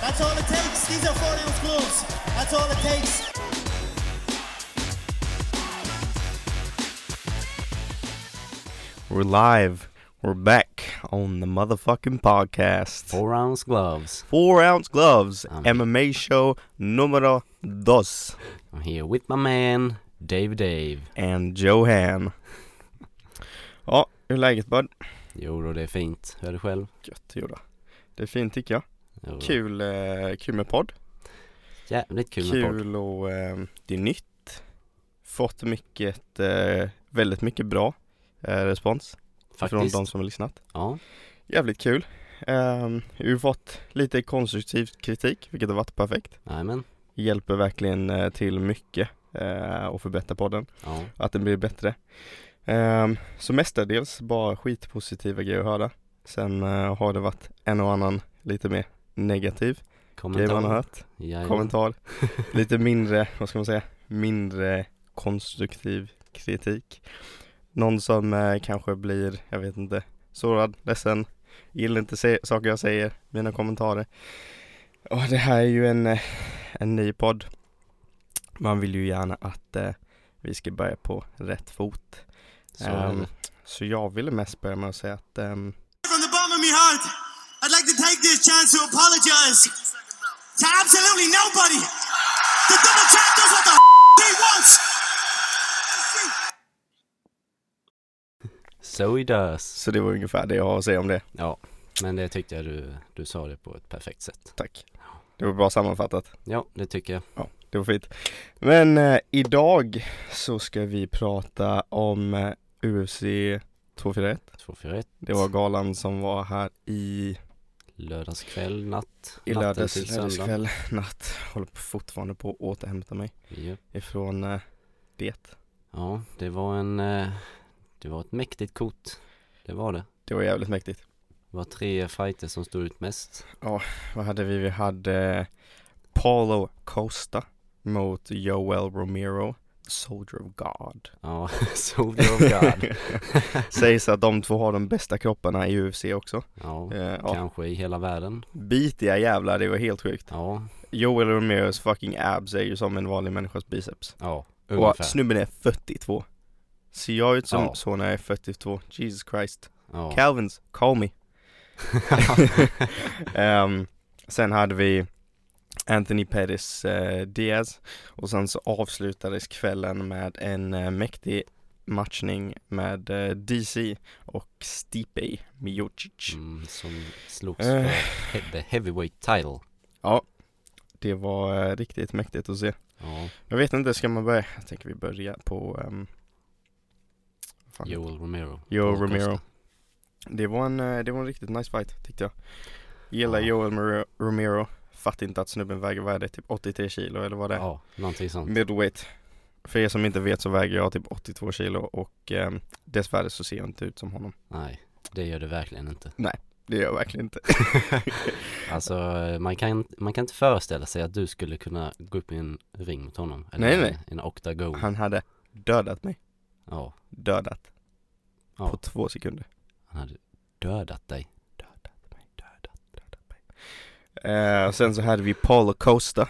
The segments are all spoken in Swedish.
That's all it takes. These are 40 ounce gloves. That's all it takes. We're live. We're back on the motherfucking podcast. Four, Four ounce gloves. ounce gloves. Um, MMA show numero dos. I'm here with my man Dave Dave. And Johan. Ja, hur är läget bud? Jo då, det är fint. Hör du själv? Gött, jodå. Det är fint tycker jag. Jo, då. Kul, eh, kul med podd. Jävligt kul, med podd. Kul och eh, det är nytt. Fått mycket, eh, väldigt mycket bra eh, respons från Faktiskt. de som har lyssnat. Ja, Jävligt kul. Ehm, vi har fått lite konstruktiv kritik, vilket har varit perfekt. jajamän. hjälper verkligen eh, till mycket eh, och förbättra podden, Ja, att den blir bättre. Ehm, Så mestadels bara skitpositiva grejer att höra. Sen eh, har det varit en och annan lite mer negativ grej man har kommentar. hört, Jajamän. kommentar, lite mindre, vad ska man säga, mindre konstruktiv kritik. Någon som eh, kanske blir, jag vet inte, sårad, ledsen, gillar inte se- saker jag säger, mina kommentarer. Och det här är ju en, eh, en ny podd. Man vill ju gärna att eh, vi ska börja på rätt fot. Så är Ehm, det. så jag ville mest börja med att säga att ehm, From the bottom of my heart, I'd like to take this chance to apologize to absolutely nobody. The double champ does what the he wants. So it does. så det var ungefär det jag har att säga om det. Ja, men det tyckte jag du, du sa det på ett perfekt sätt. Tack. Det var bra sammanfattat. Ja, det tycker jag. Ja, det var fint. Men eh, idag så ska vi prata om eh, UFC 241. 241. Det var galan som var här i, Lördagskväll, natt. i natten lördags, till lördags söndag. kväll, natt. Håller på- fortfarande på att återhämta mig Japp. ifrån eh, det. Ja, det var en... eh, Det var ett mäktigt kort. Det var det. Det var jävligt mäktigt. Det var tre fighter som stod ut mest. Vad hade vi? Vi hade eh, Paulo Costa mot Joel Romero, Soldier of God. Ja, Soldier of God. Sägs att de två har de bästa kropparna i UFC också. Ja, Eh, ja. kanske i hela världen. Bitiga jävlar, det var helt sjukt. Ja, Joel Romeros fucking abs är ju som en vanlig människas biceps. ja, Och ungefär. snubben är 42. Ser jag ut som Ja. så när jag är 42? Jesus Christ. Ja. Calvins, call me. Ehm, sen hade vi Anthony Pettis eh, Diaz och sen så avslutades kvällen med en eh, mäktig matchning med eh, DC och Stipe Miocic. Mm, som slogs Eh. för he- the heavyweight title. Det var eh, riktigt mäktigt att se. Ja, Jag vet inte, ska man börja? Jag tänker vi börjar på ehm, vad fan Joel Romero. Joel Paul Romero. Costa. Det var, en, eh, det var en riktigt nice fight tyckte jag. Gillar Ja. Joel Mero- Romero. Fattar inte att snubben väger, vad är det, typ 83 kilo eller vad det är? Ja, någonting sånt. Middleweight. För er som inte vet så väger jag typ 82 kilo och ehm, dessvärre så ser jag inte ut som honom. Nej, det gör det verkligen inte. Det gör jag verkligen inte. Alltså, eh, man kan, man kan inte föreställa sig att du skulle kunna gå upp i en ring mot honom. Eller Nej, en, nej. en oktagon. Han hade dödat mig. Ja, Dödat. Ja. På två sekunder. han hade dödat dig. Eh, sen så hade vi Paulo Costa.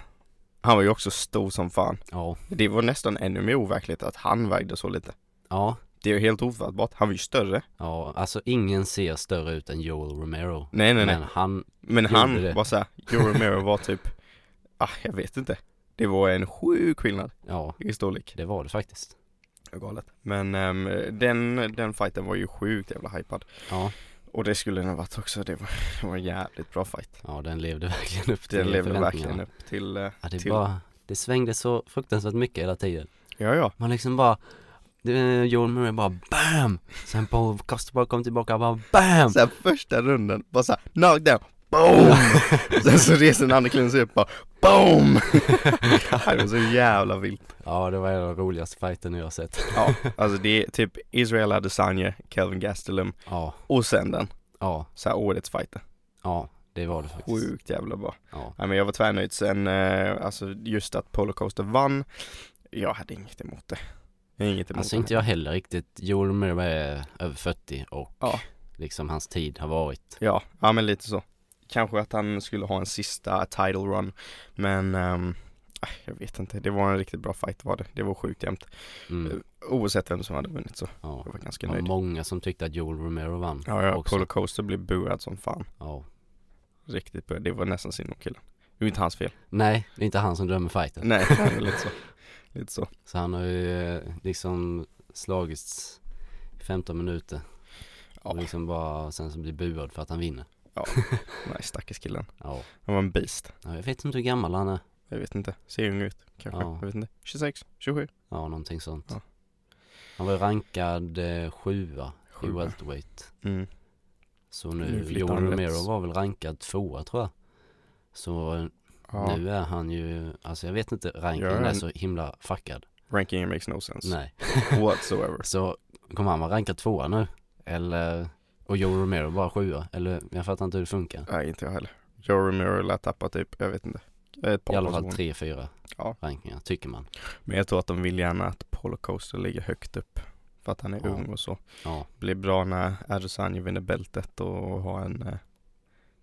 Han var ju också stor som fan. Ja, Det var nästan ännu mer overkligt att han vägde så lite. ja, Det är ju helt ofattbart. Han var ju större. ja. Alltså, ingen ser större ut än Joel Romero. Nej, nej, nej. Men han, Men Gjorde han det. var såhär, Joe Romero var typ, ah jag vet inte. Det var en sjuk skillnad ja, i storlek. det var det faktiskt. Galet. Men ehm, den, den fighten var ju sjukt jävla hypad. Ja. Och det skulle den ha varit också. Det var, det var en jävligt bra fight. Ja, den levde verkligen upp till Den levde verkligen förväntningarna. upp till, eh, Ja, det till- bara, det svängde så fruktansvärt mycket hela tiden. ja ja. Man liksom bara, det, eh, Joel Murray bara BAM! Sen Paul Costa bara kom tillbaka och bara BAM! Sen första runden, bara såhär, knockdown, boom! Sen så reser den andra killen sig upp bara, boom! det var så jävla vilt. Ja, det var en av de roligaste fighterna jag har sett. Ja, alltså det är typ Israel Adesanya, Kelvin Gastelum Ja, och sen den, ja, så här årets fighter. ja, det var det faktiskt. Sjukt jävla bra. Ja, Ja, men jag var tvärnöjd sen, eh, alltså just att Polo Coaster vann, jag hade inget emot det. Jag hade Inget emot alltså det. inte jag heller riktigt. Joel Murray är över 40 och Ja. liksom hans tid har varit. Ja, ja men lite så. kanske att han skulle ha en sista title run. Men ehm, ah, jag vet inte, det var en riktigt bra fight var det. Det var sjukt jämnt. Eh, Mm. Oavsett vem som hade vunnit så Ja. jag var ganska Det var nöjd. många som tyckte att Joel Romero vann. Ja, ja också. Polo Coaster blev buad som fan. Ja. Riktigt buad. Det var nästan synd om killen. Det var inte hans fel. Nej, det är inte han som drömmer fighten. Nej, lite så. Lite så. Så han har ju eh, liksom slagits i 15 minuter. Ja, Och liksom bara sen så blir buad för att han vinner. nej stackars killen. Ja. Han var en beast. ja. Jag vet inte hur gammal han är. Jag vet inte. Ser ung ut kanske. Ja. Jag vet inte. 26, 27. Ja, någonting sånt. Ja. Han var ju rankad eh, sjua i Sjua. welterweight. Mm. Så Nu nu, flyttar Joel han rätt. Romero var väl rankad tvåa tror jag. Så eh, Ja. nu är han ju, alltså jag vet inte, Gör rankingen är han- så himla fuckad. Rankingen makes no sense. Nej. Whatsoever. Så kommer han vara rankad tvåa nu? Eller, och Joel Romero bara sjua? Eller jag fattar inte hur det funkar. Nej, inte jag heller. Joe Romero lär tappa typ, jag vet inte. Ett par I alla fall positioner. tre, fyra Ja. rankningar, tycker man. Men jag tror att de vill gärna att Polo Coaster ligger högt upp. För att han är Ja. ung och så. Ja, Blir bra när Adesanya vinner bältet och har en eh,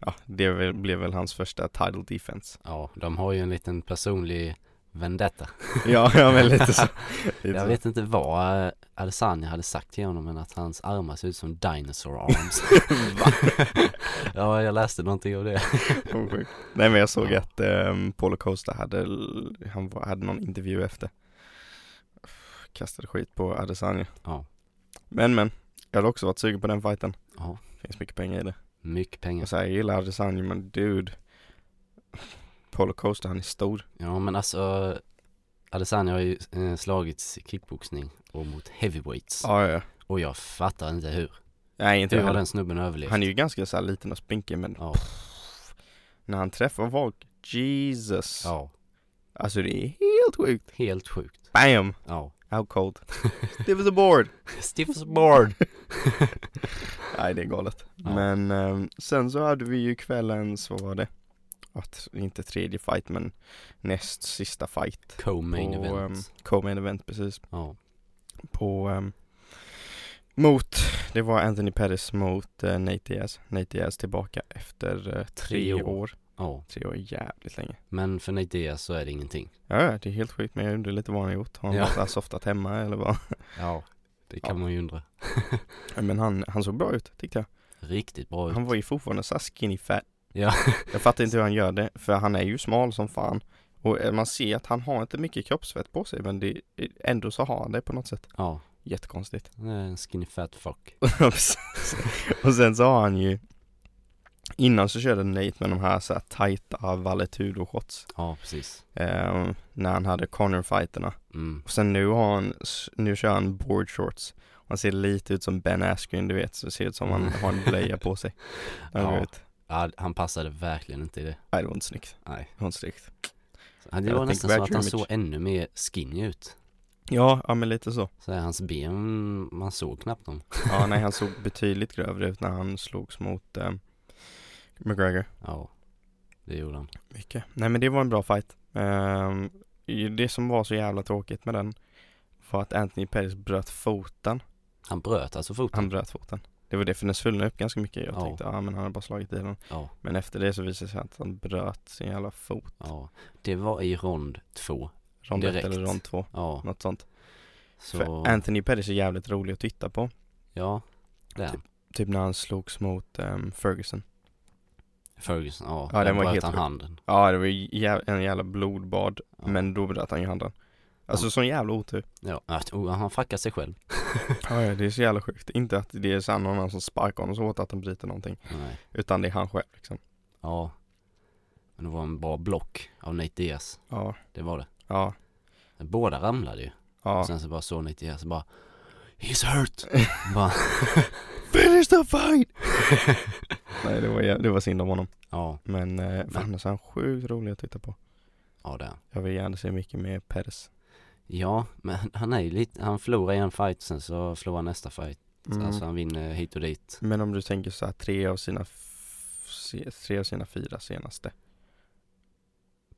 Ja, det väl- blev väl hans första title defense. ja, de har ju en liten personlig vendetta. Ja, ja men lite så. Lite Jag så. vet inte vad eh, Adesanya hade sagt till honom men att hans armar ser ut som dinosaur arms Ja, jag läste någonting om det Vad sjukt. Nej men jag såg Ja. att um, Polo Costa hade, l- han var, hade någon intervju efter. Kastade skit på Adesanya. Ja, Men men, jag hade också varit sugen på den fighten. ja, Finns mycket pengar i det. mycket pengar Och så här, jag gillar Adesanya men dude. Polo Costa han är stor. Ja men alltså Adesanya har ju eh, slagits i kickboxning och mot heavyweights Ja ja. ja. Och jag fattar inte hur Nej inte Hur jag har heller. den snubben överlevt? Han är ju ganska så här liten och spinkig men Ja, när han träffar folk, Jesus. ja, Alltså det är helt sjukt. helt sjukt Bam! Ja, How cold. Stiff as a board. stiff as a board Nej det är galet. Ja. Men ehm, sen så hade vi ju kvällens, vad var det? Att, inte tredje fight men näst sista fight. Co-main på, event ehm, Co-main event precis. Ja, På ehm, mot, det var Anthony Pettis mot eh, Nate Diaz. Nate Diaz tillbaka efter eh, tre Tre år. år. ja, Tre år är jävligt länge. men för Nate Diaz så är det ingenting Ja, ja, det är helt sjukt men jag undrar lite vad han har gjort. Har han Ja. bara så här softat hemma eller vad? Ja, det kan Ja. man ju undra Men han, han såg bra ut tyckte jag. Riktigt bra ut Han var ju fortfarande såhär skinny fat Ja. Jag fattar inte hur han gör det, för han är ju smal som fan Och eh, man ser att han har inte mycket kroppsfett på sig men det, eh, ändå så har han det på något sätt Ja, Jättekonstigt han är en skinny fat fuck Och sen så har han ju Innan så körde Nate med de här så här tajta valetudo shots Ja, precis eh, När han hade Connor fighterna mm. Och sen nu har han, s- nu kör han board shorts Han ser lite ut som Ben Askren du vet, så det ser ut som han har en blöja på sig Han går Ja. ut. ja, Han passade verkligen inte i det Nej det var inte snyggt, Nej det var inte snyggt Han- Det Jag var tänker nästan så back att han image. såg ännu mer skinny ut Ja, ja men lite så. Så här, hans ben, man såg knappt dem Ja, nej han såg betydligt grövre ut när han slogs mot eh, McGregor. Ja, det gjorde han Mycket. Nej men det var en bra fight. Ehm, det som var så jävla tråkigt med den var att Anthony Pettis bröt foten. Han bröt alltså foten Han bröt foten. Det var det, för den svullnade upp ganska mycket. Jag Ja. tänkte, ja men han har bara slagit i den. Ja, Men efter det så visade det sig att han bröt sin jävla fot. ja Det var i rond två Rond ett Direkt. eller rond två. Ja, Något sånt. så För Anthony Pettis är jävligt rolig att titta på. Ja, det är han Typ när han slogs mot ehm, Ferguson. Ferguson, ja, Ja, där den var bröt helt han sjuk. handen Ja det var ju jä- en jävla blodbad ja. Men då bröt han ju handen. Alltså sån jävla otur. Ja, att- oh, han fuckade sig själv Ja, ja, det är så jävla sjukt. Inte att det är så här någon annan som sparkar honom så hårt att han bryter någonting. Nej, Utan det är han själv liksom. ja Men det var en bra block av Nate Diaz Ja, Det var det ja, Båda ramlade ju ja. Och sen så bara såg ni till Jens och bara He's hurt! bara, Finish the fight! Nej det var, jä- det var synd om honom. ja, Men eh, fan så är han sjukt rolig att titta på. ja det är han. Jag vill gärna se mycket mer Perez. Ja, men han är ju lite, han förlorar en fight sen så förlorar han nästa fight. Mm. Alltså han vinner hit och dit. Men om du tänker så här tre av sina f- se- tre av sina fyra senaste.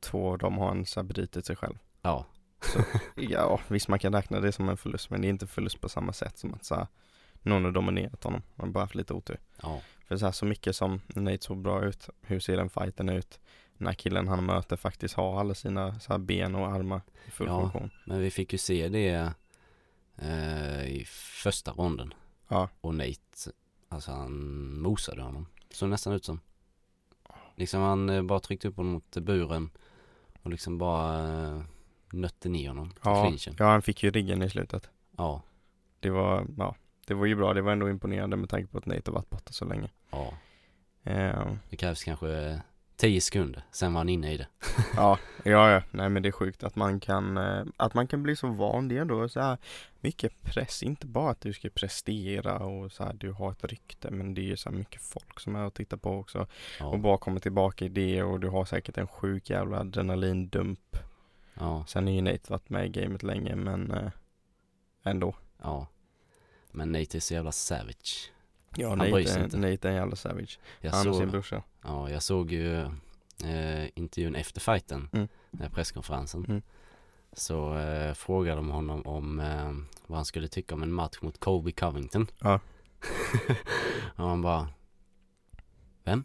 Två av dem har han så här brutit sig själv. Ja, Ja, visst man kan räkna det som en förlust men det är inte förlust på samma sätt som att så här, någon har dominerat honom. Han har bara haft lite otur. ja, För så, här, så mycket som Nate såg bra ut, hur ser den fighten ut? När killen han möter faktiskt har alla sina så här, ben och armar i full Ja. funktion. Men vi fick ju se det eh, i första ronden. Ja. Och Nate, alltså han mosade honom. Såg nästan ut som. Liksom han eh, bara tryckte upp honom mot buren och liksom bara eh, nötte ner honom till Ja, clinchen. ja, han fick ju riggen i slutet. Ja, Det var, ja, det var ju bra. Det var ändå imponerande med tanke på att Nate har varit borta så länge. ja. Eh, Det krävs kanske 10 sekunder, sen var han inne i det. Ja, ja, ja. Nej men det är sjukt att man kan, eh, att man kan bli så van det ändå. Så här, mycket press, inte bara att du ska prestera och så här, du har ett rykte men det är ju så här mycket folk som är och tittar på också. Och Ja, bara kommer tillbaka i det och du har säkert en sjuk jävla adrenalindump. ja, Sen har ju Nate varit med i gamet länge men eh, ändå. ja. Men Nate är så jävla savage. Ja, Han bryr Nate, sig är- inte. Nate är en jävla savage. Jag Han och sin såg, brorsa. ja, jag såg ju eh, intervjun efter fighten, Mm. den här presskonferensen. Mm. Så eh, frågade de honom om eh, vad han skulle tycka om en match mot Colby Covington. Ja. och han bara, vem?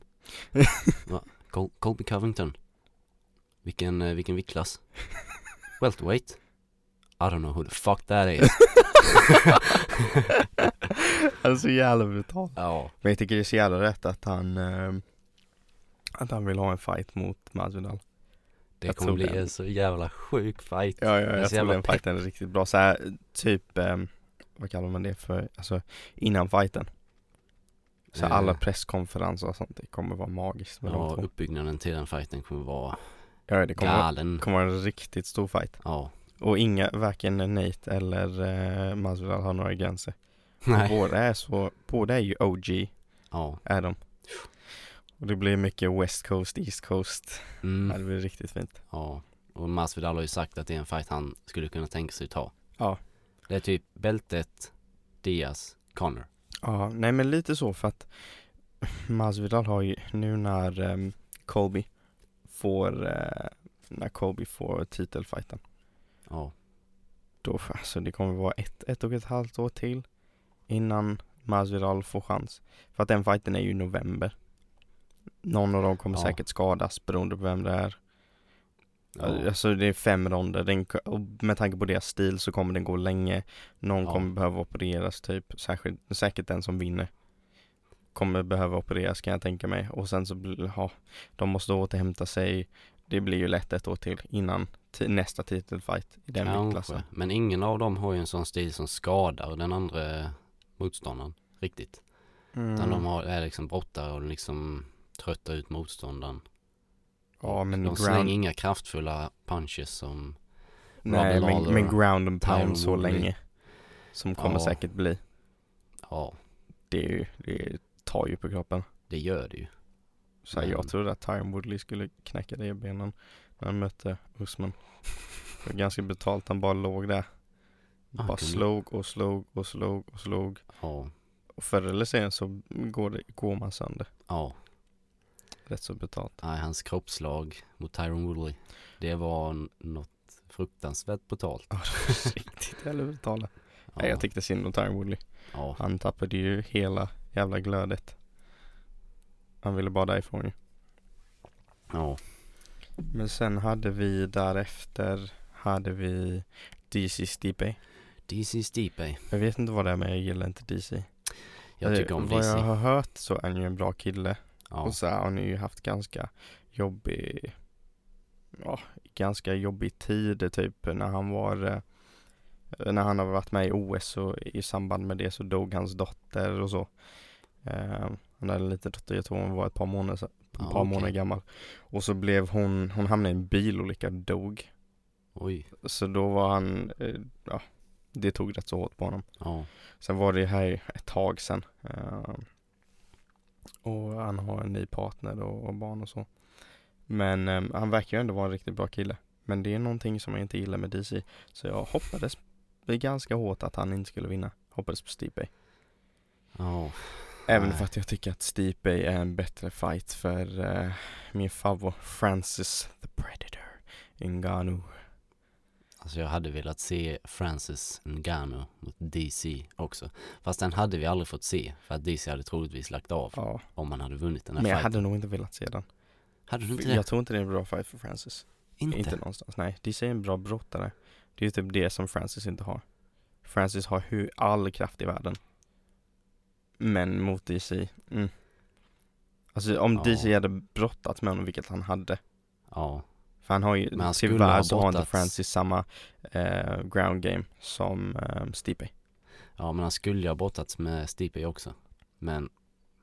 Va? Col- Colby Covington? Vilken, eh, vilken viktklass? Welterweight? I don't know who the fuck that is. Han är så jävla brutal. ja, Men jag tycker det är så jävla rätt att han eh, att han vill ha en fight mot Masvidal. det Jag kommer tror bli det. en så jävla sjuk fight. Ja, ja är jag så tror jävla den fighten är riktigt bra. Så här, typ, ehm, vad kallar man det för, alltså innan fighten. Så här, Eh. alla presskonferenser och sånt, det kommer vara magiskt med Ja, de två. uppbyggnaden till den fighten kommer vara Ja, det kommer, vara- galen. kommer vara en riktigt stor fight. Ja, Och inga, varken Nate eller eh, Masvidal har några gränser. Och nej. Båda är så, båda är ju OG, Ja. är de. Och det blir mycket West Coast, East Coast. Ja, Mm. det blir riktigt fint. ja. Och Masvidal har ju sagt att det är en fight han skulle kunna tänka sig ta. Ja. Det är typ bältet, Diaz, Connor. Ja, nej men lite så för att Masvidal har ju nu när ehm, Colby får, eh, när Colby får titelfighten Ja, då, f- alltså det kommer vara ett, ett och ett halvt år till innan Masvidal får chans. För att den fighten är ju i november. Någon av dem kommer Ja. säkert skadas beroende på vem det är. ja. Alltså det är fem ronder, den, k- och med tanke på deras stil så kommer den gå länge Någon Ja. kommer behöva opereras typ, Särskilt, säkert den som vinner Kommer behöva opereras kan jag tänka mig och sen så, blir- ja, de måste återhämta sig Det blir ju lätt ett år till innan ti- nästa titelfight i den viktklassen kanske. Men ingen av dem har ju en sån stil som skadar den andra motståndaren riktigt. Utan de mm. har, är liksom brottare och liksom tröttar ut motståndaren. Ja men De ground, slänger inga kraftfulla punches som nej, Robert men, Lawler men och ground and Tyron pound så Woodley. länge Som kommer Ja. säkert bli Ja, Det, är ju, det tar ju på kroppen det gör det ju. Så här, jag Men- trodde att Tyron Woodley skulle knäcka benen när han mötte Usman. Det var ganska brutalt, han bara låg där. Ah, Bara kul. slog och slog och slog och slog. Ja, Och förr eller senare så går, det, går man sönder. ja. Rätt så brutalt. Nej, hans kroppslag mot Tyron Woodley. Det var n- något fruktansvärt brutalt. Ja, det var riktigt jävla brutala. Ja, Nej, jag tyckte synd om Tyron Woodley. ja, Han tappade ju hela jävla glödet. Han ville bara därifrån ju. ja, Men sen hade vi därefter, hade vi DC Stipe. DC Stipe. Jag vet inte vad det är men jag gillar inte DC. eh. Jag Eh, tycker om Vad DC. jag har hört så är han ju en bra kille Ja, och så har ni ju haft ganska jobbig, ja, ganska jobbig tid typ när han var, eh, när han har varit med i OS och i samband med det så dog hans dotter och så. Eh, han hade en liten dotter, jag tror hon var ett par månader, se- ett Ja, par okej. månader gammal. Och så blev hon, hon hamnade i en bilolycka och dog. oj, Så då var han, eh, ja, det tog rätt så hårt på honom. ja, Sen var det ju här ett tag sen. eh, och han har en ny partner och, och barn och så. Men eh, han verkar ju ändå vara en riktigt bra kille. Men det är någonting som jag inte gillar med DC. Så jag hoppades det är ganska hårt att han inte skulle vinna. Hoppades på Stipe. ja, Även Nej. för att jag tycker att Stipe är en bättre fight för eh, min favorit Francis the Predator Ngannou. Alltså jag hade velat se Francis Ngannou mot DC också. Fast den hade vi aldrig fått se, för att DC hade troligtvis lagt av Ja, om man hade vunnit den här men jag fighten. hade nog inte velat se den. hade du inte det? Jag tror inte det är en bra fight för Francis. inte? Inte någonstans, nej. DC är en bra brottare. Det är ju typ det som Francis inte har. Francis har hur all kraft i världen. Men mot DC, mm. Alltså om Ja. DC hade brottats med honom, vilket han hade. Ja, För han har ju, Men han skulle tyvärr ha så har inte brottats. Francis samma eh, ground game som eh, Stipe. ja, men han skulle ju ha brottats med Stipe också. Men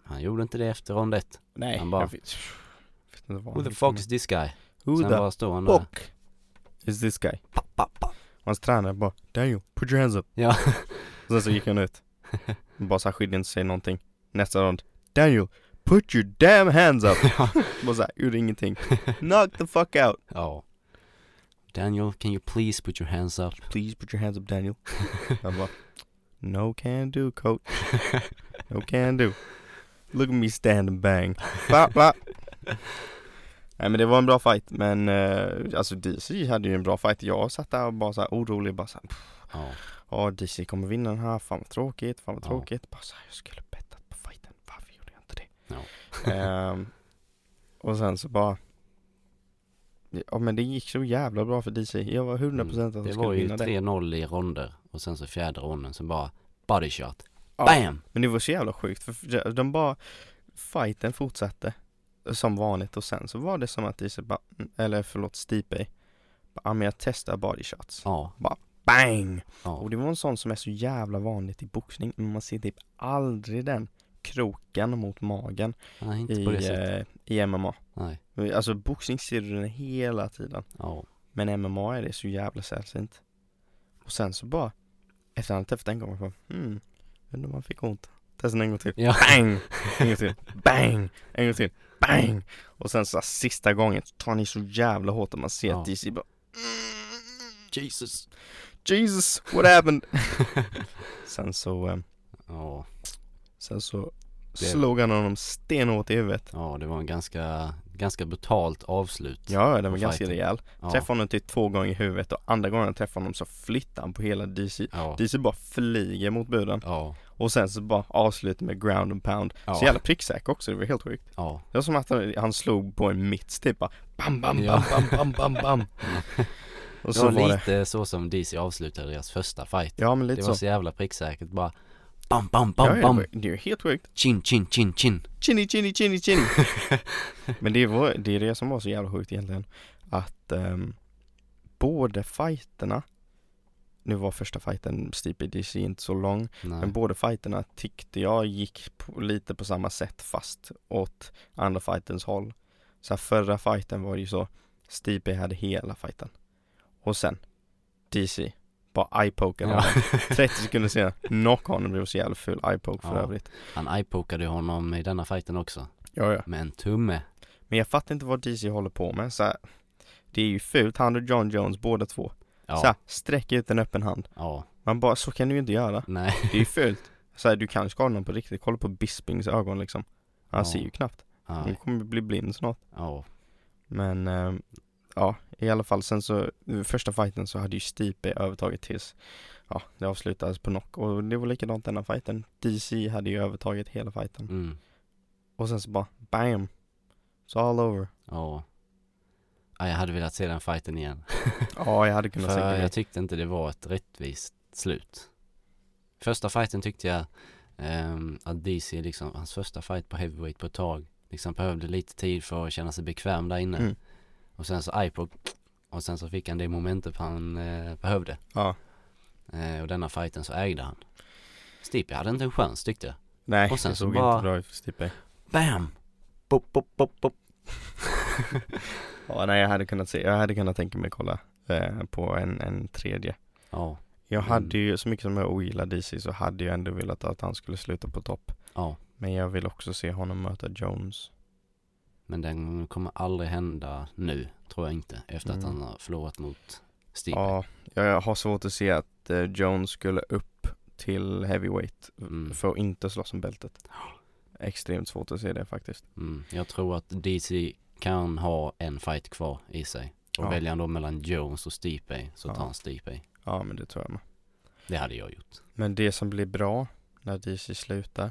han gjorde inte det efter rond ett. Nej, Han bara- jag vet, jag vet inte vad Who han the gjorde fuck med- is this guy? Who Sen the bara står han där. fuck is this guy? Pa, pa, pa. Och hans tränare bara Daniel, put your hands up. Ja, Och sen så gick han ut. Bara så här skilde inte sig någonting. Nästa rond. Daniel, put your damn hands up. Bara så här, gjorde ingenting. Knock the fuck out. ja. Daniel, can you please put your hands up? Please put your hands up Daniel. Han bara, no can do coach. No can do. Look at me stand and bang. Bla, bla. Nej men det var en bra fight men eh, alltså DC hade ju en bra fight. Jag satt där och bara så här orolig bara så här, Ja, Ja, DC kommer vinna den här, fan vad tråkigt, fan vad Ja. tråkigt. Bara så här, jag skulle bettat på fighten, varför gjorde jag inte det? ja. Ehm, och sen så bara Ja men det gick så jävla bra för DC, jag var 100% att de Mm. Det skulle var ju vinna det 3-0 i ronder och sen så fjärde ronden så bara body shot. Ja. Bam! Men det var så jävla sjukt för de bara Fighten fortsatte eh, Som vanligt och sen så var det som att DC bara, mm, eller förlåt Stipe bara, Ja men jag testar body shots Ja, Bang! ja. Och det var en sån som är så jävla vanligt i boxning men man ser typ aldrig den kroken mot magen Nej, inte på det i, sättet. eh, i MMA. Nej, Alltså boxning ser du den hela tiden. ja. Men MMA är det så jävla sällsynt. Och sen så bara, efter han träffat en gång, jag bara, hmm, undrar om han fick ont. Testa en gång till. Ja, Bang! En gång till. Bang! En gång till. Bang! Och sen så här, sista gången så tar ni så jävla hårt att man ser Ja. att DC bara Jesus. Jesus, what happened? sen så, eh, Ja, sen så Det- slog han honom stenhårt i huvudet. ja, det var en ganska, ganska brutalt avslut. Ja, den var Och ganska fighten. rejäl. ja. Träffade honom typ två gånger i huvudet och andra gången han träffade honom så flyttade han på hela DC. ja. DC bara flyger mot buren ja. och sen så bara avslutar med ground and pound. Så ja. jävla pricksäker också, det var helt sjukt. ja. Det var som att han, han slog på en mitts typ bara bam bam bam Ja. bam bam bam bam. Och Det så var var det. lite så som DC avslutade deras första fight. Ja men Det lite var så. så jävla pricksäkert bara bam, bam, Ja, bam, ja, bam. det var- Det är ju helt sjukt. Chin, chin, chin, chin. Chinny chinny chinny chinny. men det, var, det är det som var så jävla sjukt egentligen. Att um, både fighterna, nu var första fighten Stipe DC inte så lång. Men Nej. båda fighterna tyckte jag gick på, lite på samma sätt fast åt andra fightens håll. Så här, förra fighten var det ju så, Stipe hade hela fighten. Och sen, DC, bara eye-pokade Ja. honom. 30 sekunder senare, knock honom, det var så jävla ful eye-poke för Ja. övrigt. Han eye-pokade ju honom i denna fighten också. Ja, ja. Med en tumme. Men jag fattar inte vad DC håller på med. Så här, det är ju fult, han och John Jones båda två. Ja, Så här, sträck ut en öppen hand. ja. Man bara, så kan du ju inte göra. Nej. Det är ju fult. Så här, du kan skada någon på riktigt, kolla på Bispings ögon liksom. Han Ja. ser ju knappt. Ja, Hon kommer bli blind snart. ja. Men eh, ja, i alla fall sen så, i första fighten så hade ju Stipe övertaget tills, ja, det avslutades på knock. Och det var likadant denna fighten. DC hade ju övertaget hela fighten. Mm. Och sen så bara, bam! Så all over. Ja. ja. Jag hade velat se den fighten igen. Ja, jag hade kunnat För säga jag det. tyckte inte det var ett rättvist slut. Första fighten tyckte jag ehm, att DC liksom, hans första fight på heavyweight på ett tag, liksom behövde lite tid för att känna sig bekväm där inne. Mm. Och sen så iPod och sen så fick han det momentet han eh, behövde. Ja, Eh, och denna fighten så ägde han. Stipe hade inte en chans tyckte jag. nej, och sen det så såg bara- inte bra ut för Stipe. Bam! Pop, pop, pop, pop. Ja, nej, jag hade kunnat se, jag hade kunnat tänka mig kolla eh, på en, en tredje. Ja, Jag Mm. hade ju, så mycket som jag ogillar DC så hade jag ändå velat att han skulle sluta på topp. ja. Men jag vill också se honom möta Jones. Men den kommer aldrig hända nu, tror jag inte. Efter att Mm. han har förlorat mot Stipe. Ja, jag har svårt att se att eh, Jones skulle upp till heavyweight Mm. för att inte slåss om bältet. Extremt svårt att se det faktiskt. Mm, jag tror att DC kan ha en fight kvar i sig. Och Ja. väljer han då mellan Jones och Stipe så tar Ja. han Stipe. Ja men det tror jag med. Det hade jag gjort. Men det som blir bra när DC slutar,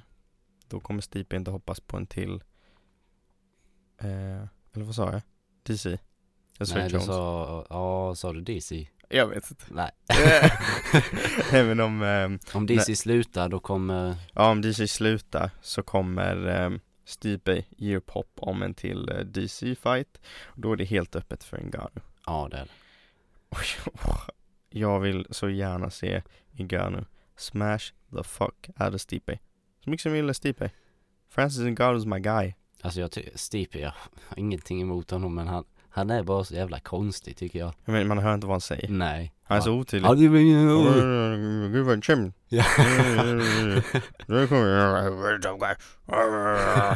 då kommer Stipe inte hoppas på en till, eh, eller vad sa jag? DC? Jag sa Nej, du Jones. sa, ja, sa du DC? Jag vet inte. Nej. Även om, ehm, Om DC slutar då kommer, ja om DC slutar så kommer ehm, Stipe ge upp hopp om en till eh, DC-fight. Då är det helt öppet för Ngannou. ja det är det. Och jag- Jag vill så gärna se Ngannou smash the fuck out of Stipe. Så mycket som jag gillar Stipe. Francis Ngannou's my guy. Alltså jag tycker, Stipe, jag har ingenting emot honom men han, han är bara så jävla konstig tycker jag. Jag menar, man hör inte vad han säger. Nej. Han är så Ja, otydlig. det var ju... Gud vad kämp. Ja. Nu kommer jag. Ja, det är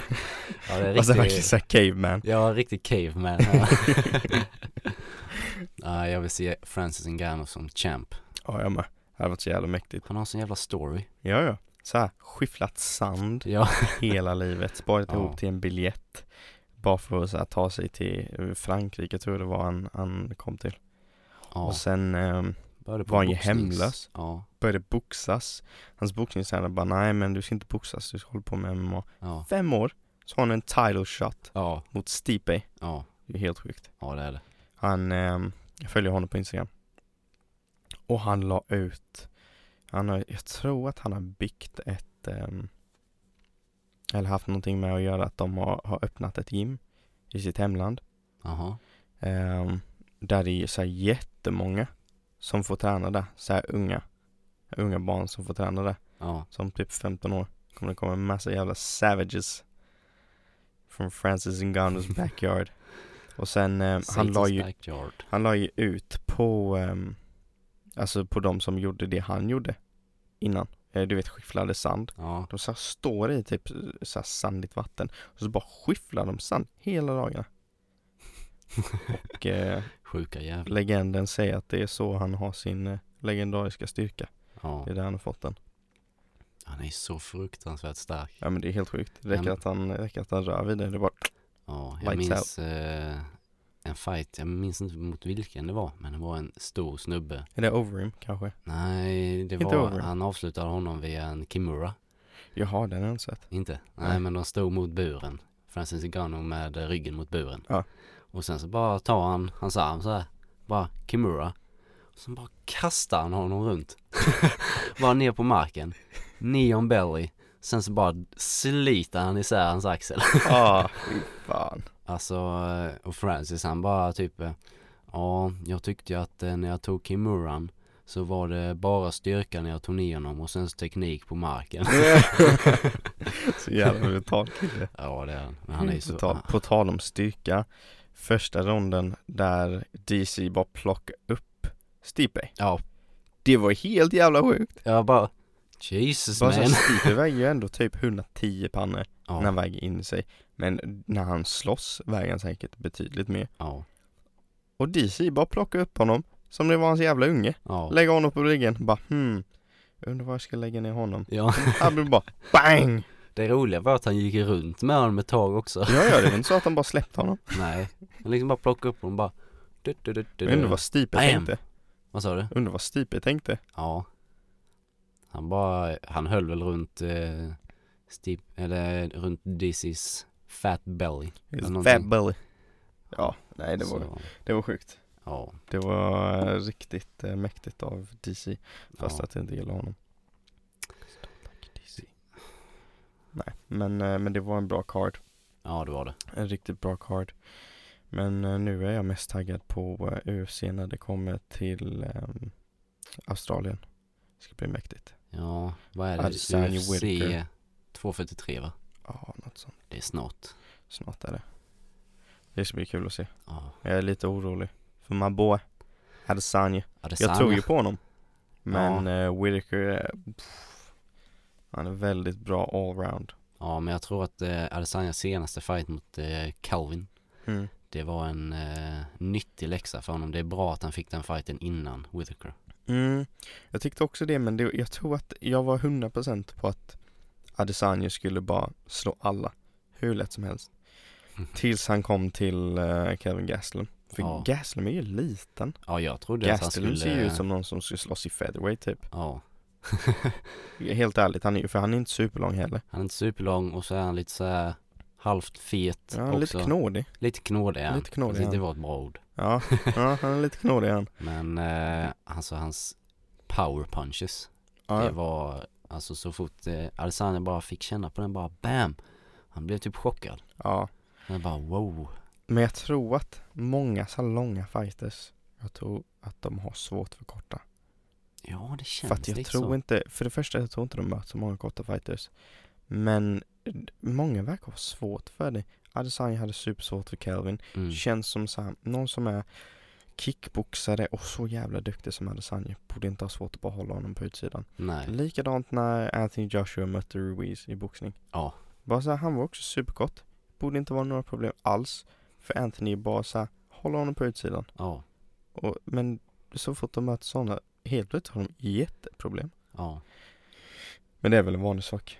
Alltså riktigt... verkligen såhär caveman. Ja, riktig caveman. ja, jag vill se Francis Ngannou som champ. Ja jag med. Det hade varit så jävla mäktigt. Han har sån jävla story. Ja ja. Såhär, skyfflat sand Ja, hela livet. Sparat Ja. ihop till en biljett. Bara för att så här, ta sig till eh, Frankrike tror jag det var han, han kom till. ja. Och sen ehm, Började var han ju boxnings. hemlös? Ja, började boxas. Hans boxningstränare bara nej men du ska inte boxas, du ska hålla på med MMA. ja, Fem år, så har han en title shot ja, mot Stipe. ja, Det är helt sjukt. ja det är det. Han, ehm, jag följer honom på Instagram. Och han la ut, han har, jag tror att han har byggt ett, ehm, eller haft någonting med att göra att de har, har öppnat ett gym i sitt hemland. Jaha, Ehm, där det är så här jättemånga som får träna där, så här unga, unga barn som får träna där. ja, Som typ 15 år kommer det komma en massa jävla savages från Francis Ngannous backyard. Och sen, ehm, han la Satan's ju backyard. han la ju ut på, ehm, alltså på de som gjorde det han gjorde innan. Eh, du vet skyfflade sand. Ja, De så här står i typ så här sandigt vatten och så bara skyfflar de sand hela dagarna. och eh, sjuka jävlar. legenden säger att det är så han har sin eh, legendariska styrka. Ja, Det är där han har fått den. han är så fruktansvärt stark. Ja men det är helt sjukt. Det räcker Men- att han, det räcker att han rör vid det. Det är bara, Ja, jag Lights minns eh, en fight, jag minns inte mot vilken det var, men det var en stor snubbe. är det overrim kanske? Nej, det Inte var, over. han avslutade honom via en Kimura. Jaha, den har jag inte sett. Inte? Nej, Nej. men de stod mot buren. Francis Ngannou med eh, ryggen mot buren. Ja. Och sen så bara tar han hans arm så här. Bara Kimura. Och sen bara kastar han honom runt. bara ner på marken. Neon belly. Sen så bara sliter han isär hans axel. Ah, fy fan. Alltså, eh, och Francis han bara typ eh, Ja, jag tyckte ju att eh, när jag tog Kimuran så var det bara styrka när jag tog ner honom och sen så teknik på marken. Så jävla brutal kille. ja, det är han. Men han är ju På så... tal, på tal om styrka, första ronden där DC bara plockade upp Stipe. Ja, Det var helt jävla sjukt. Jag bara Jesus Bara man. så här, Stipe väger ju ändå typ 110 pannor när han Ja, väger in sig. Men när han slåss väger han säkert betydligt mer. ja, Och DC bara plockade upp honom som det var hans jävla unge. ja. Lägger honom på ryggen, bara hmm. Undrar var jag ska lägga ner honom. Ja, Han blev bara BANG! det roliga var att han gick runt med honom ett tag också. Ja, ja, det var inte så att han bara släppte honom. Nej, han liksom bara plockade upp honom bara. Du, du, du, du, Jag undrar du. vad Stipe Bam! tänkte. Vad sa du? Undrar vad Stipe tänkte. Ja. Han bara, han höll väl runt eh, Steve, eller runt DC's fat belly. Eller His någonting. fat belly. Ja, nej det var, Så, det var sjukt. ja. Det var eh, riktigt eh, mäktigt av DC. Fast ja. att jag inte gillar honom. Nej, men, eh, men det var en bra card. ja, det var det. En riktigt bra card. Men eh, nu är jag mest taggad på eh, UFC när det kommer till ehm, Australien. Det ska bli mäktigt. Ja, vad är Adesanya det? UFC Whittaker. 243 va? Ja, något sånt. Det är snart. Snart är det. Det ska bli kul att se. Ja. Jag är lite orolig. För my boy, Adesanya. Jag Adesanya. tror ju på honom. Men eh, Whitaker är... Pff, han är väldigt bra allround. Ja, men jag tror att eh, Adesanyas senaste fight mot eh, Calvin, Mm. det var en eh, nyttig läxa för honom. Det är bra att han fick den fighten innan Whitaker. Mm. Jag tyckte också det, men det, jag tror att jag var 100% på att Adesanya skulle bara slå alla. Hur lätt som helst. Mm. Tills han kom till eh, Kevin Gastelum. För Ja. Gaslam är ju liten. Ja, jag trodde att han Gastelum skulle... ser ju ut som någon som ska slåss i featherweight typ. Ja. Helt ärligt, han är, ju- för han är inte superlång heller. Han är inte superlång och så är han lite så här halvt fet Ja, han är också. lite knådig. Lite knådig är han. Lite knådig är Precis, Det han. var ett bra ord. Ja, ja, han är lite knådig han. Men eh, alltså hans power punches. Det Ja, var, alltså så fort eh, Adesanya bara fick känna på den bara BAM! Han blev typ chockad. ja. Han bara wow. Men jag tror att många så här långa fighters, jag tror att de har svårt för korta. Ja det känns liksom. För att jag lite tror så. inte, för det första jag tror inte de möter så många korta fighters. Men d- många verkar ha svårt för det. Adesanya hade supersvårt för Calvin. Mm. Känns som så här, någon som är kickboxare och så jävla duktig som Adesanya borde inte ha svårt att bara hålla honom på utsidan. Nej. Likadant när Anthony Joshua mötte Ruiz i boxning. Ja. Bara så här, han var också superkort. Borde inte vara några problem alls. För Anthony bara så här, håller honom på utsidan. Ja. Och, men så fort de möter sådana, helt plötsligt har de jätteproblem. Ja. Men det är väl en vanlig sak.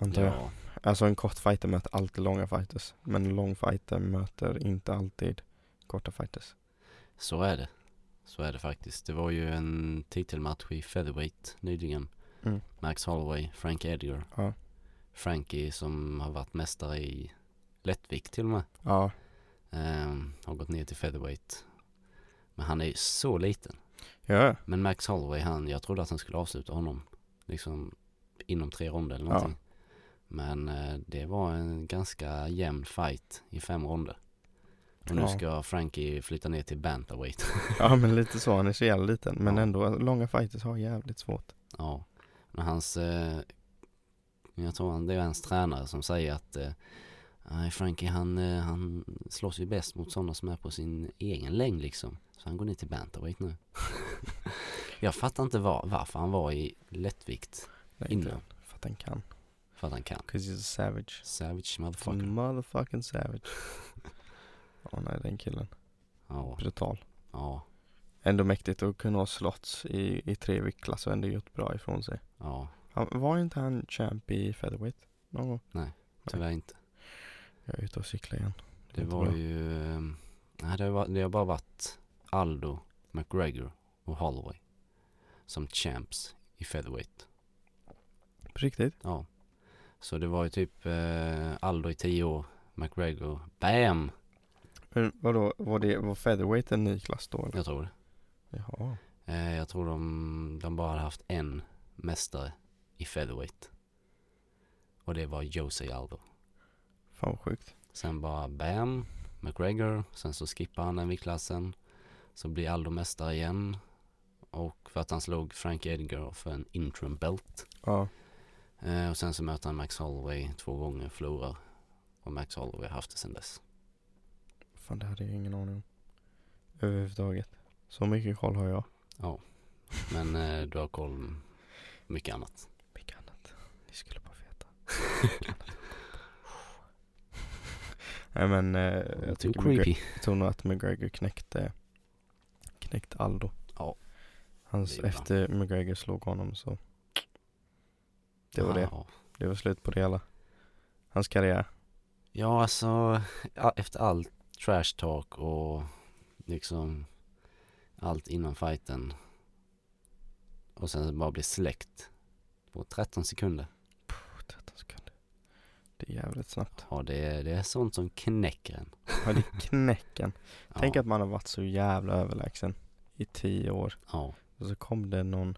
Antar jag. Ja. Alltså en kort fighter möter alltid långa fighters. Men en lång fighter möter inte alltid korta fighters. Så är det. Så är det faktiskt. Det var ju en titelmatch i featherweight nyligen. Mm. Max Holloway, Frank Edgar. Ja. Frankie som har varit mästare i lättvikt till och med. Ja, Ehm, har gått ner till featherweight. Men han är ju så liten. ja, Men Max Holloway han, jag trodde att han skulle avsluta honom. Liksom inom tre ronder eller Ja. någonting. Men eh, det var en ganska jämn fight i fem ronder. Och nu Ja. ska Frankie flytta ner till bantamweight. ja men lite så, han är så jävla liten. Men Ja. ändå, långa fighters har jävligt svårt. Ja, men hans, eh, jag tror han, det är hans tränare som säger att eh, nej, Frankie han, eh, han slåss ju bäst mot sådana som är på sin egen längd liksom. Så han går ner till bantamweight nu. jag fattar inte var, varför han var i lättvikt Nej, inte innan. För att han kan. För att han kan. 'Cause he's a savage. Savage Fucking motherfucker. motherfucking savage. Ja nej den killen, Ja, brutal. ja, Ändå mäktigt att kunna ha slåtts i, i tre viktklasser och ändå gjort bra ifrån sig. ja. Han, var inte han champ i featherweight någon gång? Tyvärr inte. Jag är ute och cyklar igen. Det inte var bra. ju, eh, nej det, var, det har bara varit Aldo, McGregor och Holloway. Som champs i featherweight. På riktigt? Ja. Så det var ju typ eh, Aldo i 10 år, McGregor, BAM! Men vadå, var, det, var featherweight en ny klass då eller? Jag tror det. Jaha. Eh, jag tror de, de bara hade haft en mästare i featherweight. Och det var Jose Aldo. Fan vad sjukt. Sen bara BAM, McGregor, sen så skippar han den viktklassen. Så blir Aldo mästare igen. Och för att han slog Frank Edgar för en interim belt. Ja. Eh, och sen så möter han Max Holloway två gånger, förlorar. Och Max Holloway har haft det sen dess. Fan det hade jag ingen aning om. Överhuvudtaget. Så mycket koll har jag. Men eh, du har koll på mycket annat. Mycket annat. Ni skulle bara veta. Nej men eh, jag Too tycker mycket, Jag tror nog att McGregor knäckte, knäckte Aldo. Ja. Hans, Det är bra. efter McGregor slog honom så. Det var det. Ja. Det var slut på det hela. Hans karriär. Ja, alltså a- efter allt trash talk och liksom allt innan fighten. Och sen så bara bli släckt på 13 sekunder. Puh, 13 sekunder. Det är jävligt snabbt. Ja, det är, det är sånt som knäcker en. Ja, det är knäcken. Ja, Tänk att man har varit så jävla överlägsen i tio år. Ja, Och så kom det någon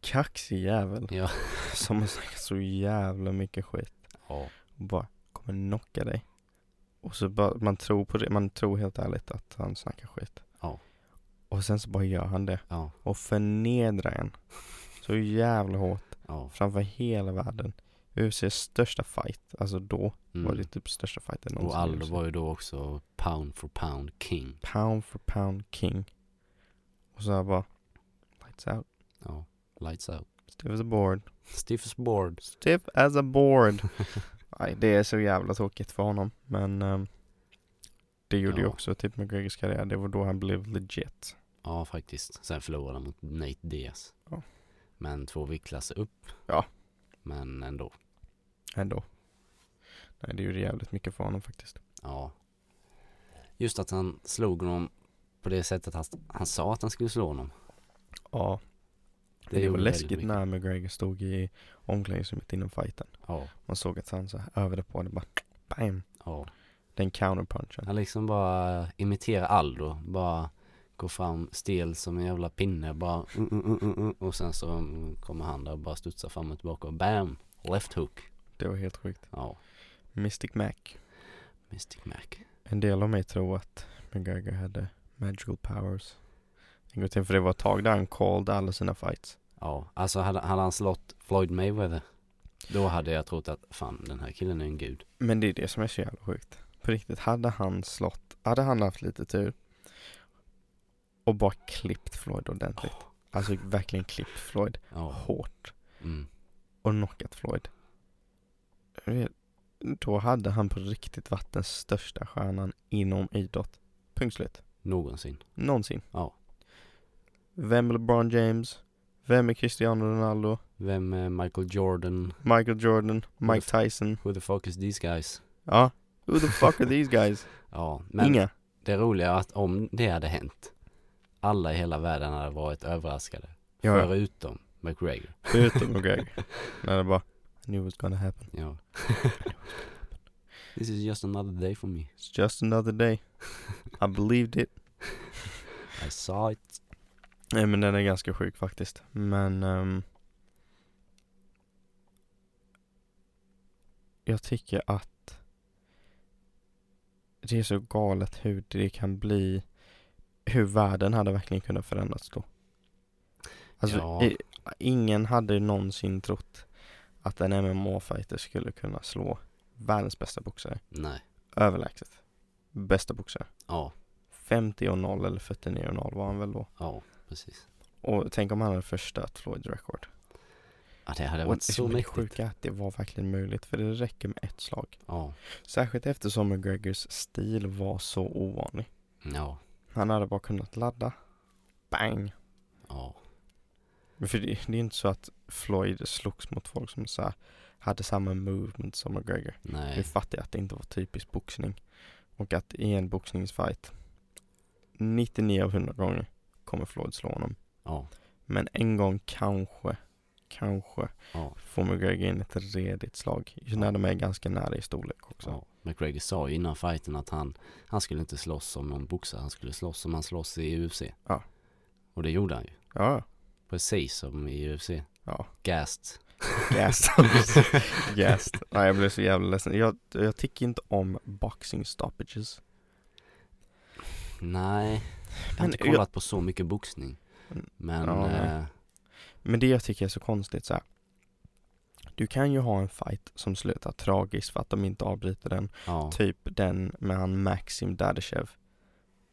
kaxig jävel ja, som har snackat så jävla mycket skit. ja, och bara kommer knocka dig. Och så bara, man tror på det, man tror helt ärligt att han snackar skit. Ja. Och sen så bara gör han det ja, och förnedrar en. Så jävla hårt ja. framför hela världen. UFCs största fight, alltså då var det Mm. typ största fighten Och någonsin. i Aldo UFC. var ju då också pound for pound king. Pound for pound king. Och så här bara, lights out. Ja, lights out. Stiff as a board. Stiffest board. Stiff as a board. Nej, det är så jävla tråkigt för honom. Men ehm, det gjorde ju Ja. också typ McGregors karriär. Det var då han blev legit. Ja, faktiskt. Sen förlorade han mot Nate Diaz. Ja. Men två viktklasser upp. Ja. Men ändå. Ändå. Nej, det gjorde jävligt mycket för honom faktiskt. Ja. Just att han slog honom på det sättet han, han sa att han skulle slå honom. Ja, det, det var gjorde väldigt läskigt mycket. när McGregor stod i omklädningsrummet innan fighten. Ja, Man såg att han så här övade på det bara, bam, ja. den counterpunchen. Han liksom bara imiterar Aldo, bara går fram stel som en jävla pinne bara mm, mm, mm, mm, mm. och sen så mm, kommer han där och bara studsar fram och tillbaka och bam! Left hook. Det var helt sjukt. Ja, Mystic Mac. Mystic Mac. En del av mig tror att McGregor hade magical powers. En gång till för det var ett tag där han called alla sina fights. Ja, alltså hade, hade han slått Floyd Mayweather då hade jag trott att fan den här killen är en gud. Men det är det som är så jävla sjukt. På riktigt, hade han slått, hade han haft lite tur och bara klippt Floyd ordentligt. Åh, Alltså verkligen klippt Floyd Ja, hårt mm. och knockat Floyd. Jag vet, Då hade han på riktigt varit den största stjärnan inom idrott. Punkt slut. någonsin. Någonsin. Ja. Vem är LeBron James? Vem är Cristiano Ronaldo? Vem är Michael Jordan? Michael Jordan? Mike Tyson? Who the fuck is these guys? Ja. Who the fuck are these guys? Ja, men Inga. det roliga är att om det hade hänt alla i hela världen hade varit överraskade. Ja, ja. Förutom McGregor. Förutom McGregor. När det bara, I knew it was gonna happen. Ja. This is just another day for me. It's just another day. I believed it. I saw it. Nej men den är ganska sjuk faktiskt. Men ehm, Jag tycker att Det är så galet hur det kan bli Hur världen hade verkligen kunnat förändras då. Alltså Ja. i, ingen hade någonsin trott att en MMA-fighter skulle kunna slå världens bästa boxare. Nej. Överlägset. Bästa boxare. Ja, 50 och 0 eller 49 och 0 var han väl då. ja, precis. Och tänk om han hade förstört Floyds rekord. Ja, det hade Och varit så det som är det mäktigt. sjuka är att det var verkligen möjligt för det räcker med ett slag. Ja, Särskilt eftersom McGregors stil var så ovanlig. ja, Han hade bara kunnat ladda. Bang! ja. Men För det, det är inte så att Floyd slogs mot folk som så här, hade samma movement som McGregor. Nu Nej, fattar jag att det inte var typisk boxning. Och att i en boxningsfight 99 av 100 gånger kommer Floyd slå honom. ja, Men en gång kanske, kanske ja, får McGregor in ett redigt slag. Just när de är ganska nära i storlek också. ja. McGregor sa ju innan fighten att han, han skulle inte slåss som någon boxare, han skulle slåss som han slåss i UFC. Ja. Och det gjorde han ju. Ja, Precis som i UFC. ja. Gast. Gäst. Gäst. Nej, jag blev så jävla ledsen. Jag, jag tycker inte om boxing stoppages. Nej, jag har Men inte jag- kollat på så mycket boxning. Mm, Men, ja, nej. eh, Men det jag tycker är så konstigt så här. Du kan ju ha en fight som slutar tragiskt för att de inte avbryter den. ja, Typ den med han Maxim Dadyshev.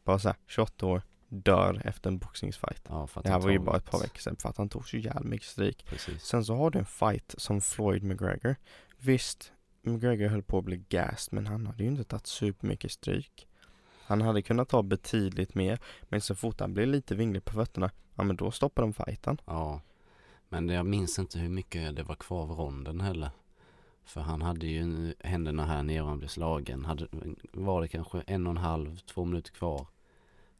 Bara såhär, 28 år, dör efter en boxningsfight. ja, för att Det här han var ju tog- bara ett par veckor sedan för att han tog så jävla mycket stryk. Precis. Sen så har du en fight som Floyd McGregor. Visst, McGregor höll på att bli gassed men han hade ju inte tagit supermycket stryk. Han hade kunnat ta betydligt mer men så fort han blev lite vinglig på fötterna, ja men då stoppar de fighten. Ja. Men jag minns inte hur mycket det var kvar av ronden heller. För han hade ju händerna här nere och han blev slagen. Hade, var det kanske en och en halv, två minuter kvar.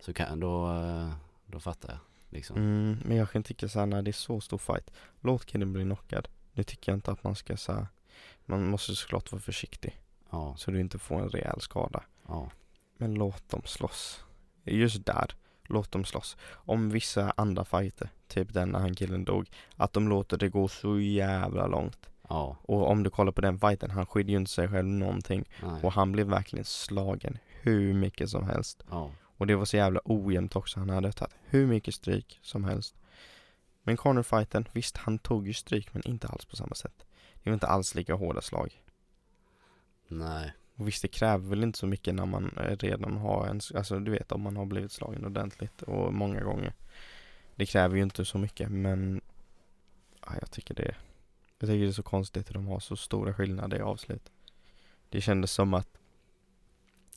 Så kan, då, eh, då fattar jag. Liksom. Mm, men jag kan tycka såhär när det är så stor fight, låt killen bli knockad. Nu tycker jag inte att man ska såhär, man måste såklart vara försiktig Ja, så du inte får en rejäl skada. ja, Men låt dem slåss. Just där, låt dem slåss. Om vissa andra fighter, typ den när han killen dog, att de låter det gå så jävla långt. ja, Och om du kollar på den fighten, han skydde ju inte sig själv någonting. nej, Och han blev verkligen slagen hur mycket som helst. ja, Och det var så jävla ojämnt också, han hade tagit hur mycket stryk som helst. Men Conor-fighten, visst han tog ju stryk men inte alls på samma sätt. Det var inte alls lika hårda slag. nej, Och visst det kräver väl inte så mycket när man eh, redan har en, alltså du vet om man har blivit slagen ordentligt och många gånger. Det kräver ju inte så mycket men ja, jag tycker det Jag tycker det är så konstigt att de har så stora skillnader i avslut. Det kändes som att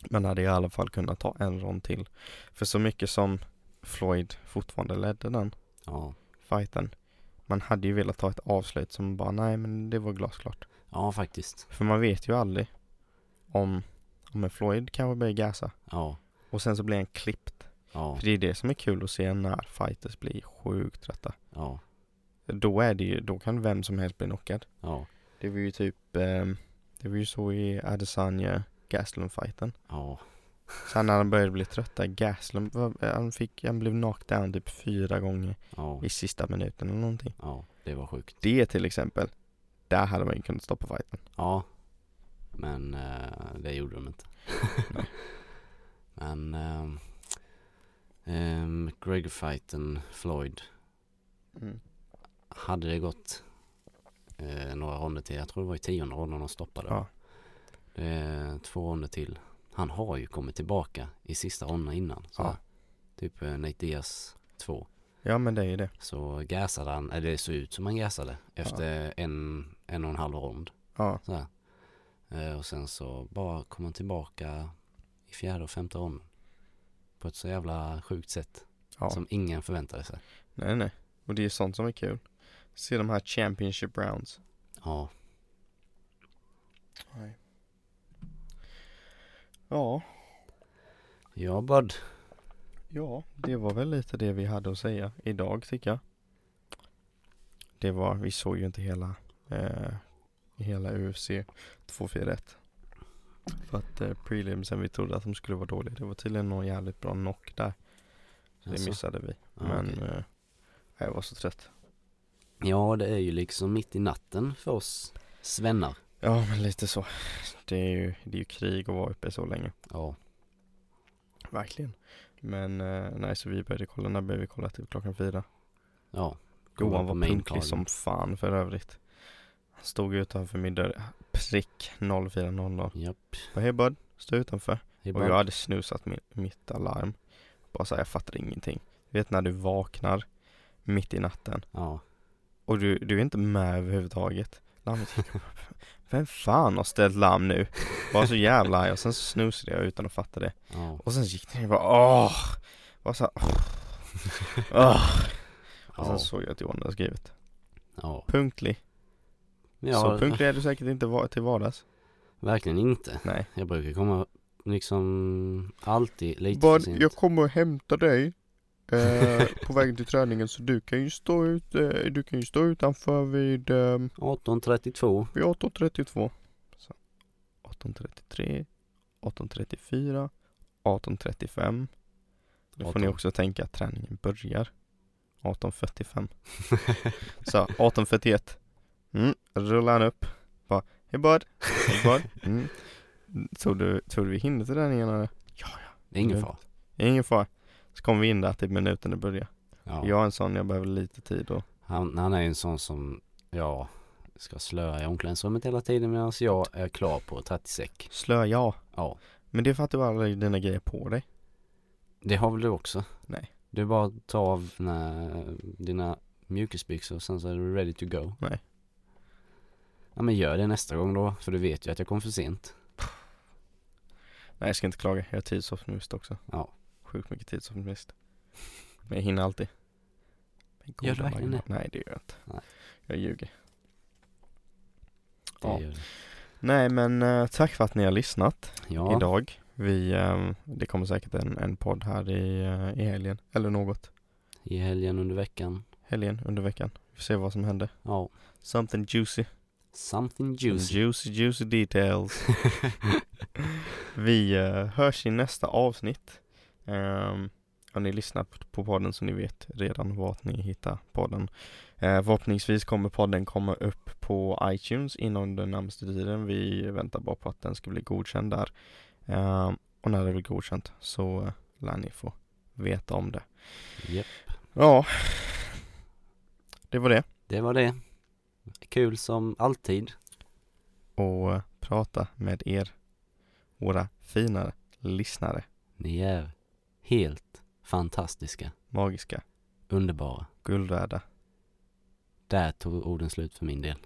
man hade i alla fall kunnat ta en rond till. För så mycket som Floyd fortfarande ledde den ja. fighten. Man hade ju velat ta ett avslut som bara nej men det var glasklart. Ja, faktiskt. För man vet ju aldrig om, om en Floyd kanske börjar gasa. Ja, Och sen så blir han klippt. Ja, För det är det som är kul att se när fighters blir sjukt trötta. ja, Då är det ju, då kan vem som helst bli knockad. ja, Det var ju typ, ehm, det var ju så i Adesanya gaslund fighten ja, Sen när han började bli trötta, Gaslund, var- han fick, han blev knocked down typ fyra gånger ja, i sista minuten eller någonting. ja, det var sjukt. Det till exempel, där hade man ju kunnat stoppa fighten. Ja, men eh, det gjorde de inte. men ehm, eh, McGregor-fighten, Floyd, hade det gått eh, några ronder till, jag tror det var i tionde ronden de stoppade. Ja. Det är två ronder till. Han har ju kommit tillbaka i sista ronden innan. Så Ja. här. Typ eh, Nate Diaz 2. Ja men det är ju det. Så gasade han, eller det såg ut som han gasade efter en, en och en halv rond. Ja, Så här. Eh, Och sen så bara kom han tillbaka i fjärde och femte ronden. På ett så jävla sjukt sätt. ja. Som ingen förväntade sig. Nej nej. Och det är sånt som är kul. Se de här Championship rounds. Ja, Ja, ja bud. ja det var väl lite det vi hade att säga idag tycker jag. Det var, vi såg ju inte hela, eh, hela UFC 241. För att eh, prelimsen vi trodde att de skulle vara dåliga, det var tydligen någon jävligt bra knock där. Så det Alltså. missade vi. Ja, Men okej. eh, jag var så trött. Ja, det är ju liksom mitt i natten för oss svennar. Ja men lite så. Det är ju, det är ju krig att vara uppe så länge. Ja, Verkligen. Men eh, nej, så vi började kolla, när började vi kolla? Typ klockan fyra. ja. Kolla Johan på var main punktlig carden. som fan för övrigt. Han stod utanför min dörr, prick 04.00. Japp. Bara hej bud, stå utanför. Det är Och bara- jag hade snusat min, mitt alarm. Bara såhär, jag fattar ingenting. Du vet när du vaknar mitt i natten Ja, och du, du är inte med överhuvudtaget. Larmet gick upp. Vem fan har ställt larm nu? Var så jävla arg och sen så snusade jag utan att fatta det. ja, Och sen gick den och jag bara åh! Bara såhär åh. Och sen ja, såg jag att Johan hade skrivit ja. Punktlig Ja, Så punktlig är du säkert inte va- till vardags verkligen inte. Nej Jag brukar komma liksom alltid lite för Bud, sent. jag kommer och hämtar dig eh, på vägen till träningen så du kan ju stå, ut, eh, du kan ju stå utanför vid, eh, 18.32. Vid 18.32 Så 18.33 18.34 18.35 Då får ni 18. också tänka att träningen börjar 18.45 Så 18.41 mm, Rullar han upp Bara, hej bud, hej bud mm. Tror du, tror du vi hinner till träningen eller? Det är ingen Lugnt. fara. Ingen fara Så kommer vi in där typ minuten det börjar Ja. Jag är en sån, jag behöver lite tid och Han, han är ju en sån som, ja, ska slöa i omklädningsrummet hela tiden medan jag är klar på 30 säck. slöja ja. Ja, Men det är för att du har alla dina grejer på dig det har väl du också? Nej. Du är bara att ta av dina, dina mjukisbyxor och sen så är du ready to go. Nej. Ja men gör det nästa gång då, för du vet ju att jag kom för sent. Nej jag ska inte klaga, jag är tidsoptimist också Ja. Sjukt mycket tidsoptimist Men jag hinner alltid Men Gör du goda verkligen marginal- Nej det gör jag inte Nej. Jag ljuger Det Ja. gör det. Nej men eh, tack för att ni har lyssnat Ja, idag Vi, eh, det kommer säkert en, en podd här i, eh, i helgen Eller något i helgen under veckan. Helgen under veckan Vi får se vad som händer Ja, Something juicy something juicy. Juicy, juicy details. Vi eh, hörs i nästa avsnitt. Um, har ni lyssnat på podden så ni vet redan vart ni hittar podden. Eh, förhoppningsvis kommer podden komma upp på iTunes inom den närmaste tiden. Vi väntar bara på att den ska bli godkänd där. Ehm, och när det blir godkänt så uh, lär ni få veta om det. Japp. Ja, det var det. Det var det. Kul som alltid. Och eh, prata med er, våra fina lyssnare. Ni är helt fantastiska, magiska, underbara. guldvärda. Där tog orden slut för min del.